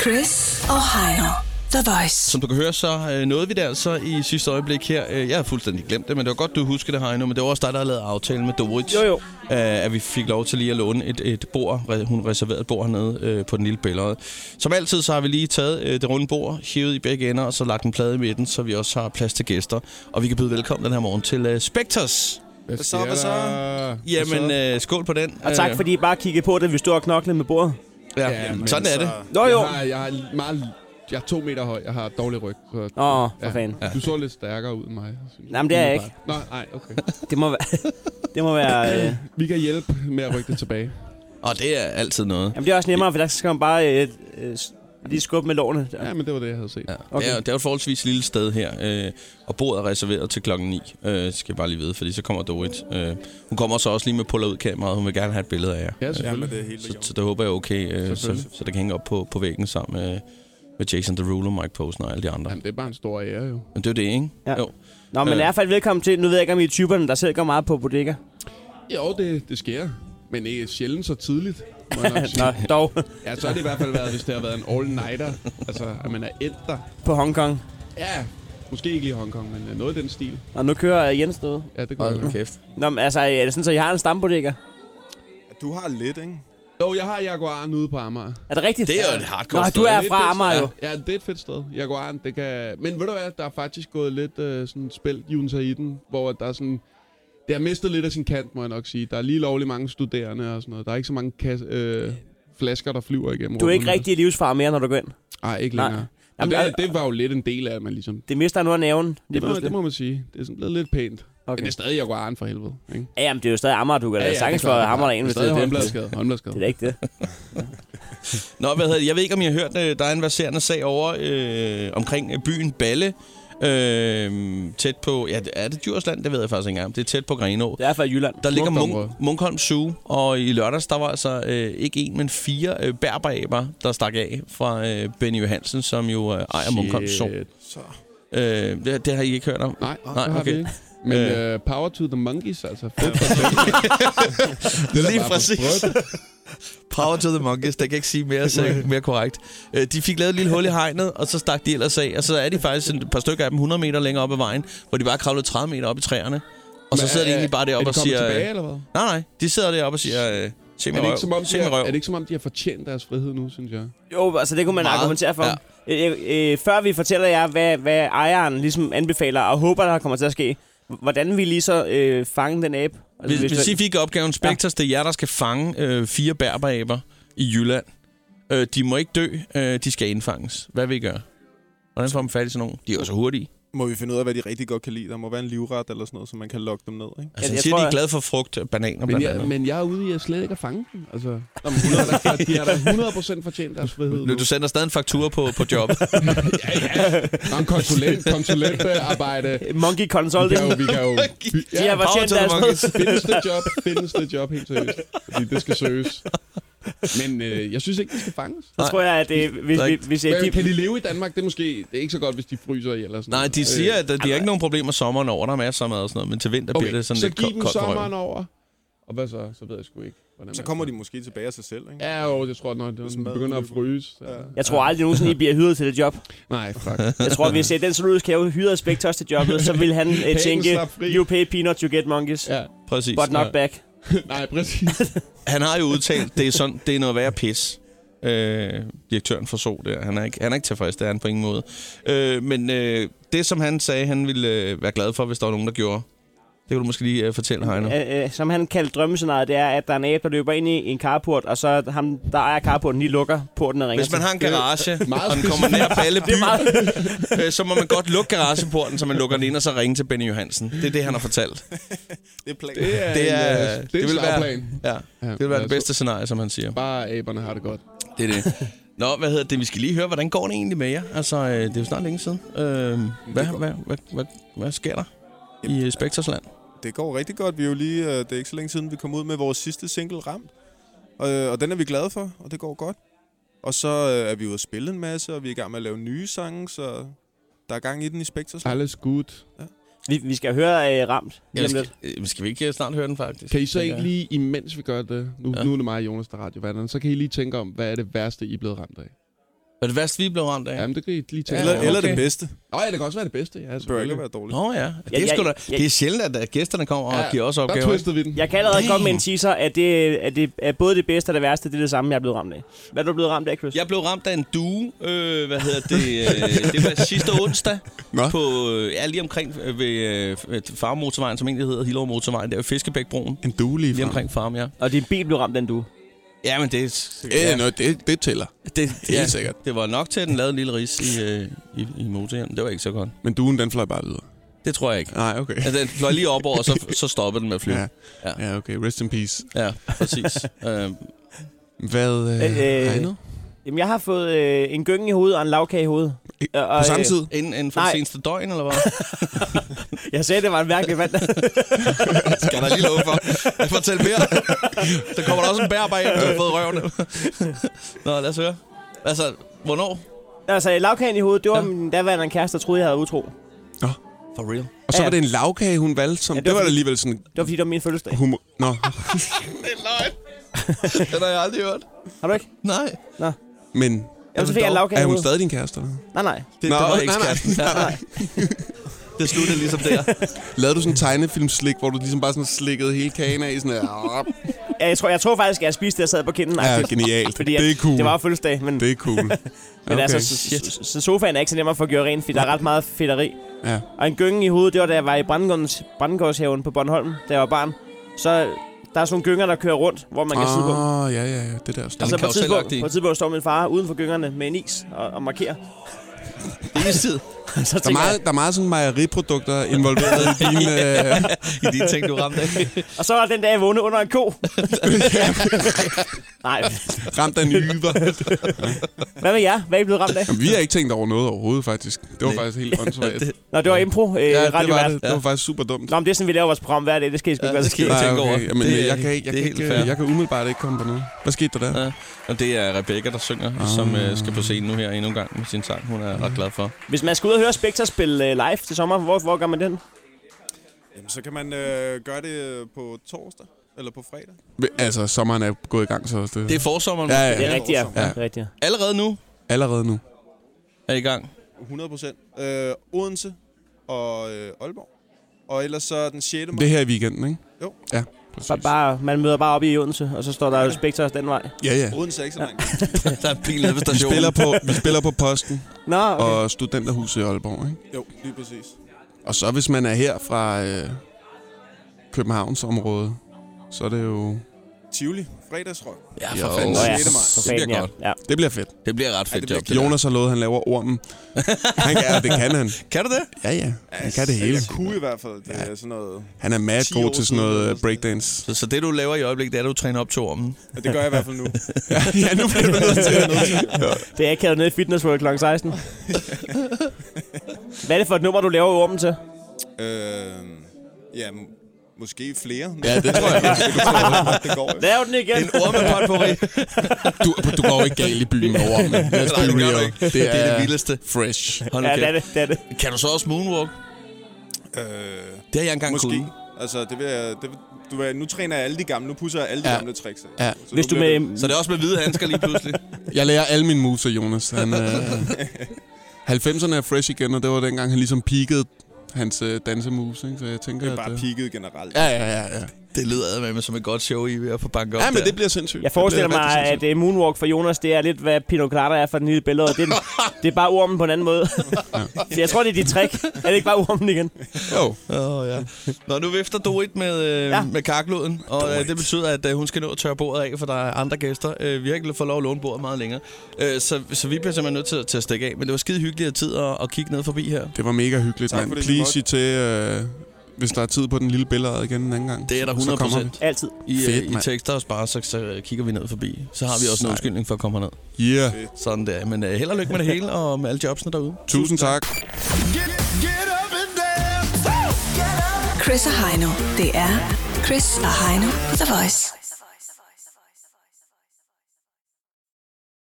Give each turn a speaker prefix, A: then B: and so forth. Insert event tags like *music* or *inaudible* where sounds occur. A: Chris og Heino. The Voice.
B: Som du kan høre, så øh, nåede vi det altså i sidste øjeblik her. Øh, Jeg har fuldstændig glemt det, men det var godt, du husker det, Heino. Men det var også dig, der havde lavet aftalen med Dorit.
C: Jo, jo.
B: Øh, at vi fik lov til lige at låne et, et bord. Re- Hun reserverede et bord hernede øh, på den lille billede. Som altid, så har vi lige taget øh, det runde bord, hævet i begge ender, og så lagt en plade i midten, så vi også har plads til gæster. Og vi kan byde velkommen den her morgen til øh, Spectres.
D: Hvad
B: så,
D: sker
B: hvad så?
D: der?
B: Jamen,
D: Hvad så?
B: øh, skål på den.
C: Og tak,
B: Øh,
C: fordi I bare kiggede på, da vi stod og knoklede med bordet.
B: Ja,
D: Ja,
B: Jamen, altså-
D: men
B: sådan er det.
C: Nå jo.
D: Jeg, har, jeg, har meget, jeg er to meter høj. Jeg har dårlig ryg. Så,
C: Åh, for fanden.
D: Du så lidt stærkere ud end mig. synes
C: Nej, men det er jeg ikke.
D: Nå, nej, okay.
C: Det må være... *laughs* det må være... Øh...
D: Vi kan hjælpe med at rykke det tilbage.
B: Og det er altid noget.
C: Jamen, det er også nemmere, for der skal man bare øh, øh, s- lige skubbe med lårene.
D: Ja, men det var det, jeg havde set.
B: Ja,
D: Ja.
B: okay.
C: Okay.
B: det, er, det er jo et forholdsvis lille sted her, øh, og bordet er reserveret til klokken 9, øh, skal jeg bare lige vide, fordi så kommer Dorit. Øh, hun kommer så også lige med puller ud kameraet, hun vil gerne have et billede af jer.
D: Ja, selvfølgelig.
E: det er helt
B: Så, så det håber jeg er okay, øh, så,
D: Selvfølgelig.
B: så det kan hænge op på, på væggen sammen med, med Jason Derulo, Mike Posen og alle de andre.
D: Jamen, det er bare en stor ære, jo.
B: Men det er jo det, ikke?
C: Ja.
B: Jo.
C: Nå, men i
B: Øh.
C: hvert fald velkommen til... Nu ved jeg ikke, om I er typerne, der selv går meget på bodega.
D: Jo, det, det sker. Men ikke sjældent så tidligt, må jeg nok
C: *laughs*
D: sige.
C: Nå, dog.
D: Ja, så har det i hvert fald været, hvis det har været en all-nighter. Altså, at man er ædt der.
C: på Hongkong.
D: Ja, måske ikke lige Hongkong, men øh, noget i den stil.
C: Og nu kører øh, Jens derude.
D: Ja, det kunne jeg
B: Hold nu
D: godt.
B: kæft.
C: Nå, men altså, er det sådan, så I har en stambodega?
E: Du har lidt, ikke?
D: Jo, jeg har Jaguaren ude på Amager.
C: Er det rigtigt?
B: Det er jo et hardcore
C: Nå,
B: sted.
C: du er
D: Det et
C: fra
D: fedt-
C: Amager jo.
D: Ja, det er et fedt sted. Jaguaren, det kan... Men ved du hvad, der er faktisk gået lidt øh, sådan spil i den, hvor der er sådan... Det har mistet lidt af sin kant, må jeg nok sige. Der er lige lovlig mange studerende og sådan noget. Der er ikke så mange kasse, øh, flasker, der flyver igennem
C: Du er ikke rigtig i livsfar mere, når du går ind.
D: Nej, ikke
C: Nej.
D: længere. Nej.
C: Jamen,
D: Jamen, det,
C: al-
D: det, var jo lidt en del af, at man ligesom...
C: Det mister nu af næven.
D: Det,
C: Det,
D: må, det
C: det
D: må man sige. Det er sådan blevet lidt pænt. Okay. Men
C: okay.
D: det er stadig Jaguaren for helvede. Ikke?
C: Ja, jamen, det er jo stadig Amager, du kan da ja, ja, sagtens få
D: det er klart.
C: Amager derinde, hvis det er det. Det
D: håndbladskade.
C: er
D: håndbladskade.
C: da ikke det.
B: Nå, hvad hedder det? Jeg ved ikke, om I har hørt, øh, der er en verserende sag over øh, omkring øh, byen Balle. Øh, tæt på... Ja, er det Djursland? Det ved jeg faktisk ikke engang. Det er tæt på Grenå.
C: Det er fra Jylland.
B: Der ligger
D: Smukt
B: Munk,
D: område.
B: Munkholm Zoo, og i lørdags, der var altså øh, ikke en, men fire øh, berberaber, der stak af fra øh, Benny Johansen, som jo øh, ejer Munkholm Zoo.
D: Shit.
E: Så.
B: Øh, det, det har I ikke hørt om.
D: Nej,
B: Nej,
D: Nej okay. har vi
B: okay.
D: ikke. Men øh, power to the monkeys, altså. Fedt for
B: Det
D: er da bare for
B: Power to the monkeys, der kan ikke sige mere, så, mere korrekt. Øh, de fik lavet et lille hul i hegnet, og så stak de ellers af, og så er de faktisk et par stykker af dem 100 meter længere op ad vejen, hvor de bare kravlede 30 meter op i træerne. Og så
D: Men
B: sidder de
D: er-
B: egentlig bare deroppe
D: er
B: og
D: de kommet
B: siger... øh,
D: tilbage, eller hvad?
B: Nej, nej, de sidder deroppe og siger... Øh, se
D: Er
B: med
D: det,
B: røv,
D: ikke, som om,
B: se
D: de
B: med
D: har,
B: røv.
D: er det ikke som om, de har fortjent deres frihed nu, synes jeg?
C: Jo, altså det kunne man
B: Meget.
C: Meget. argumentere for.
B: Ja.
C: Ja. Øh, øh, før vi fortæller jer, hvad, hvad ejeren ligesom anbefaler og håber, der kommer til at ske, hvordan vi lige så øh, fange den abe? Altså,
B: Hvis, hvis I fik opgaven Spectres, det er jer, der skal fange øh, fire berberaber i Jylland. Øh, de må ikke dø, øh, de skal indfanges. Hvad vil I gøre? Hvordan får man fat i sådan nogen? De er jo så hurtige.
E: Må vi finde ud af, hvad de rigtig godt kan lide? Der må være en livret eller sådan noget, så man kan lokke dem ned, ikke?
B: Altså,
C: Ja,
B: ja,
C: jeg
B: siger, de
C: tror,
B: er glade for frugt, og bananer
D: Men
B: blandt
D: jeg,
B: andet.
D: men jeg er ude i at slet ikke at fange dem. Altså, Nå, men 100, de har da 100% fortjent deres frihed nu.
B: Nu, du sender stadig en faktura på, på
E: *laughs*
B: job.
D: Nå, en konsulent, konsulentarbejde.
C: Monkey Console,
D: Vi
C: det,
D: kan jo, vi kan jo
C: de har
D: ja,
B: Power
C: fortjent
B: to the
C: deres
B: monkeys.
D: findes det job, findes det job helt seriøst. Fordi det skal søges. Men øh, jeg synes ikke, de skal fanges.
C: Så tror jeg, at øh, hvis,
B: Der er
C: hvis,
B: ikke-
C: hvis, øh,
D: Men,
C: de,
D: kan de leve i Danmark? Det er måske det er ikke så godt, hvis de fryser i eller sådan
B: Nej,
D: noget.
B: de siger, at øh, de har
C: altså-
B: ikke nogen problemer sommeren over. Der er masser af mad og sådan noget, men til vinter okay, bliver det sådan
D: så
B: lidt
D: giv
B: koldt
D: dem
B: koldt for
D: sommeren
B: røven.
D: over. Og hvad så? Så ved jeg sgu ikke. Hvordan
E: Så
D: man-
E: kommer de måske tilbage af sig selv, ikke?
D: Ja, jo, det tror jeg nok. Det
E: Hvis
D: er-
E: maden
D: begynder at
E: løber.
D: fryse.
E: Ja.
D: Ja.
C: jeg tror aldrig nogensinde, I bliver hyret til det job.
D: Nej, fuck.
C: Jeg tror, hvis øh, den zoologisk have hyrede Spectre også til jobbet, så vil han øh, tænke,
D: slap fri.
C: you pay peanuts, you get
B: *laughs*
C: monkeys,
D: ja.
B: Præcis.
C: but not
B: Ja.
C: back.
D: Nej, præcis.
B: Han har jo udtalt, det er, sådan, det er noget værre pis. Øh, direktøren for SO der. Han er, ikke, han er ikke tilfreds, det er han på ingen måde. Øh, men øh, det, som han sagde, han ville øh, være glad for, hvis der var nogen, der gjorde. Det kan du måske lige øh, fortælle, Heino.
C: Øh, øh, som han kaldte drømmescenariet, det er, at der er en abe, der løber ind i en carport, og så ham, der ejer carporten, lige lukker porten og ringer
B: Hvis man
C: til.
B: har en garage,
D: meget
B: og den kommer nær Balle by, *laughs* øh, så må man godt lukke garageporten, så man lukker den ind og så ringe til Benny Johansen. Det er det, han har fortalt.
E: Det er planen.
D: Det er,
B: Det er,
D: en, øh, det er en
B: vil være,
D: slagplan.
B: ja,
D: Ja,
B: det vil være det
D: ja,
B: bedste scenarie, som han siger.
D: så Bare aberne har det godt.
B: Det er det. Nå, hvad hedder det? Vi skal lige høre, hvordan går det egentlig med jer? Altså, øh, det er jo snart længe siden. Øh, hvad,
E: går-
B: hvad, hvad, hvad, hvad sker der i øh, Spektorsland?
E: Det går rigtig godt. Vi er jo lige, øh, det er ikke så længe siden, vi kom ud med vores sidste single, Ramt. Og, øh, og den er vi glade for, og det går godt. Og så øh, er vi ude at spille en masse, og vi er i gang med at lave nye sange, så der er gang i den i Spectres.
D: Alles godt.
C: Vi, vi skal høre øh, Ramt lige
B: Ja,
C: om
B: skal,
C: lidt.
B: øh, skal vi ikke snart høre den, faktisk?
D: Kan I så
B: Tænker
D: ikke
B: jeg.
D: lige, imens vi gør det, nu,
B: Ja.
D: ja. nu er det mig og Jonas, der er radiovanderne, så kan I lige tænke om, hvad er det værste, I er blevet ramt af?
B: Var det værst, vi blev ramt af?
D: Jamen, det kan I lige tænke
E: Eller,
D: over.
B: Ja,
E: eller
B: okay.
E: det bedste. Det
D: Nå, ja, det kan også være det bedste. Ja,
E: bør ikke
D: selvfølgelig.
E: være dårligt.
B: Nå ja, det er,
C: Ja,
B: sgu da,
C: jeg- jeg-
B: det er sjældent, at øh, gæsterne kommer og giver os
D: der
B: opgaver.
D: twistede vi den.
C: Jeg kan allerede
B: Damn.
C: komme med en teaser, at det, at det er både det bedste og det værste, det er det samme, jeg er blevet ramt af. Hvad er du blevet ramt af, Chris?
B: Jeg blev ramt af en due, øh, hvad hedder det, øh, det var sidste onsdag,
E: Nå.
B: på, øh, ja, lige omkring øh, ved øh, Farmotorvejen, som egentlig hedder Hillerød Motorvejen, der er Fiskebækbroen,
E: En due lige
B: lige omkring Farm, ja.
C: Og din bil blev ramt af en du.
B: Ja, men det,
E: Ja, nå, det, det tæller.
B: det,
E: Helt
B: ja,
E: sikkert.
B: det var nok til, at den lavede en lille ris i, øh, i, i motorhjelmen. Det var ikke så godt.
E: Men duen, den fløj bare videre.
B: Det tror jeg ikke.
E: Nej, okay.
B: Altså, den fløj lige op over, og så, så stoppede den med at flyve.
E: Ja. Ja, okay. Rest in peace.
B: Ja, præcis. øh,
E: Hvad øh,
C: Øh, øh,
E: har I noget?
C: Jamen, jeg har fået øh, en gynge i hovedet og en lavkage i hovedet. Og, og, øh,
E: På samme tid?
B: inden, inden for
C: Nej.
B: det seneste døgn, eller hvad?
C: Øh, jeg sagde, det var en mærkelig
E: *laughs*
C: mand.
B: Skal jeg da lige love for. Fortæl mere. Der kommer der også en bær bag, efter du har fået røven. Nå, lad os høre. Altså, hvornår?
C: altså, lavkagen i hovedet, det var
B: Ja.
C: ja. min daværende kæreste, der troede, jeg havde været utro.
B: For real.
E: Og så
C: Ja.
E: var det en lavkage, hun valgte som...
C: Ja,
E: Ja,
C: det
E: det,
C: var
E: var da
C: fordi-
E: alligevel sådan...
C: Det var, fordi det var min fødselsdag.
E: Humor. Nå.
B: Det er løgn. Den har jeg aldrig hørt.
C: Har du ikke?
B: Nej.
E: Men
C: Jamen, så fik jeg en lavkage
E: er
C: i
E: hun
C: hovedet.
E: stadig din kæreste? eller hvad?
C: Nej, nej.
B: Det
E: Nå,
B: er
E: nej,
B: ikke ekskæresten. Ja, nej. Det sluttede ligesom der.
E: Lavede du sådan en
C: øh,
E: tegnefilmslik, hvor du ligesom bare sådan slikkede hele kagen af?
C: *laughs*
E: Sådan her.
C: Ja, Jeg tror, jeg tror faktisk, at jeg spiste det, jeg sad på kinden.
E: Ja,
C: agtigt.
E: genialt.
C: Fordi at,
E: det er cool.
C: Det var jo fødselsdag, men, det,
E: Det er
C: *laughs*
E: cool.
C: men
E: okay.
C: altså, så- så- så sofaen er ikke så nem at få gjort rent, fordi der er ret meget fedteri.
E: Ja.
C: Og en gynge i hovedet, det var da jeg var i Brandgårdens- Brandgårdshaven på Bornholm, da jeg var barn. Så der er sådan nogle gynger, der kører rundt, hvor man kan sidde på.
E: Åh, ja, ja, ja. Det der.
C: Og så
B: man
E: Altså,
C: på
B: kan
C: et,
B: jo selv
C: tidspunkt,
B: lugte i.
C: på et tidspunkt står min far uden for gyngerne med en is og, og
E: *laughs*
C: markerer.
B: Det er tid.
C: så
E: der, er
C: tænker jeg,
E: meget, der er meget sådan mejeriprodukter involveret i dine... Øh,
B: I de ting, du ramte af.
C: og så var den dag, jeg vågnede under en
E: *laughs*
C: ko. *laughs* Nej,
E: ramt af nyver.
C: hvad med jer? Hvad er I blevet ramt af?
E: Jamen, vi har ikke tænkt over noget overhovedet, faktisk. Det var
B: Nej.
E: faktisk helt
B: *laughs*
E: åndssvagt.
B: det-
C: Nå, det var impro. Øh,
E: Ja, det
C: radio
E: var, det. det var faktisk super dumt.
C: Nå, men det er sådan, vi laver vores program hver dag. Det skal I sgu
B: Ja,
C: ja, gøre.
B: det skal I.
E: Nej,
B: tænke over.
E: okay. Jamen,
B: Det er-
E: jeg, kan ikke, jeg,
B: det er
E: kan
B: helt
E: ikke,
B: fair.
E: øh, jeg kan umiddelbart ikke komme på noget. Hvad skete der der?
B: Ja. Og det er Rebecca, der synger, ah. som øh, skal på scenen nu her endnu en gang med sin sang. Hun er ret glad for.
C: Hvis man skal ud og høre Spectre spille øh, live til sommer, hvor, hvor gør man den?
E: Jamen, så kan man øh, gøre det på torsdag eller på fredag. Altså, sommeren er gået i gang, så det,
B: Det er forsommeren.
E: ja,
B: Ja.
E: ja,
C: Det er
E: ja.
C: rigtigt, ja.
E: Ja.
C: Det er rigtigt, ja.
B: Allerede nu
E: allerede nu.
B: er I gang.
E: 100 procent. Øh, Odense og øh, Aalborg. Og ellers så den 6.
F: Det her i weekenden, ikke?
E: Jo.
F: Ja,
C: Bare,
F: præcis.
C: bare, man møder bare op i Odense, og så står der jo Spectre den vej.
F: Ja, ja.
E: Odense er ikke så langt.
B: *laughs* Der er en pil nede ved
F: Vi
B: stationen.
F: spiller, på, vi spiller på Posten
C: Nå, okay.
F: og Studenterhuset i Aalborg, ikke?
E: Jo, lige præcis.
F: Og så hvis man er her fra øh, Københavnsområdet, så er det jo...
E: Tivoli. Fredagsrock.
B: Ja,
F: Jo.
B: for fanden.
C: Nå, ja.
E: sjette maj.
B: Det
C: Fan,
B: bliver
C: ja.
B: godt.
C: ja.
F: Det bliver fedt.
B: Det bliver et ret fedt
E: det bliver
B: job. det der.
F: Jonas har lovet, at han laver ormen. Han kan, ja, det kan han.
B: Kan du det?
F: Ja, ja. Han kan det hele.
E: Altså, Jeg kunne i hvert fald. Det er sådan noget...
F: Han er mad
E: 10 år
F: god til sådan
E: siden,
F: noget
E: eller
F: øh, breakdance.
B: Så, så det, du laver i øjeblikket, det er, at du træner op til ormen.
E: Og det gør jeg i hvert *laughs* fald nu.
F: ja, nu bliver du nødt til
C: Det er akavet nede i Fitness World kl. 16. Hvad er det for et nummer, du laver ormen til?
E: øh, ja, m- måske flere.
F: Ja, det tror
E: *laughs*
F: jeg.
E: det går jo.
C: Lav den igen!
B: En ormepot på *laughs* rig.
F: Du, du går jo ikke galt i byen med ormen. Lad os
B: Nej, det
F: be
B: gør du
F: real.
B: ikke. Det er det vildeste.
F: Fresh.
B: Hold nu
C: Ja, det er
B: kæft.
C: det. det, er det.
B: Kan du så også moonwalk?
E: Øh,
B: Det har jeg engang
E: måske.
B: kunnet.
E: Altså, det vil jeg... Det vil, du vil, nu træner jeg alle de gamle. Nu pusser jeg alle de
F: Ja.
E: gamle tricks. af.
F: Ja.
E: Så
C: Hvis
E: nu
C: du
E: bliver
C: med...
E: det-
B: Så det er også med hvide handsker lige pludselig.
F: Jeg lærer alle mine moves af Jonas. Han, øh, 90'erne er fresh igen, og det var dengang, han ligesom peakede hans øh, dansemoves. Ikke? Så jeg tænker,
E: Det er bare
F: at... øh,
E: peaked generelt.
F: ja, ja, ja, ja.
B: Det lyder med mig som et godt show, I er ved at få banket op
F: Ja, men
B: der.
F: det bliver sindssygt.
C: Jeg forestiller
F: Det bliver
C: mig,
F: rigtig
C: at øh, Moonwalk for Jonas, det er lidt, hvad Pino Colada er for den lille billede. Det er, den- det er bare ormen på en anden måde. Så jeg tror, det er dit trick. Er det ikke bare ormen igen?
F: sindssygt. Jo.
B: Åh, ja. Nå, nu vifter Dorit med, øh, ja.
C: Ja.
B: med karkloden, og øh, det betyder, at øh, hun skal nå at tørre bordet af, for der er andre gæster. Øh, vi har ikke fået lov at låne bordet meget længere. Øh, så, så vi bliver simpelthen nødt til, til at stikke af, men det var skide hyggeligt at tid at, at kigge ned forbi her.
F: Det var mega hyggeligt,
E: Tak
F: mand.
E: for det,
F: Please
E: Simon.
F: sig til, øh, hvis der er tid på den lille billede igen en anden gang.
B: Det er der
F: Så
B: 100
F: kommer vi.
B: procent.
C: Altid.
B: I,
F: Fedt,
B: øh, I
F: mand.
B: tekster og sparer, så, så øh, kigger vi ned forbi. Så har vi også en
F: Sejt.
B: undskyldning for at komme herned.
F: Yeah.
B: Sådan der. Men øh, held og
F: *laughs*
B: lykke med det hele, og med alle jobsene derude.
F: Tusind tak.
A: Chris og Heino. Det er Chris og Heino på The Voice.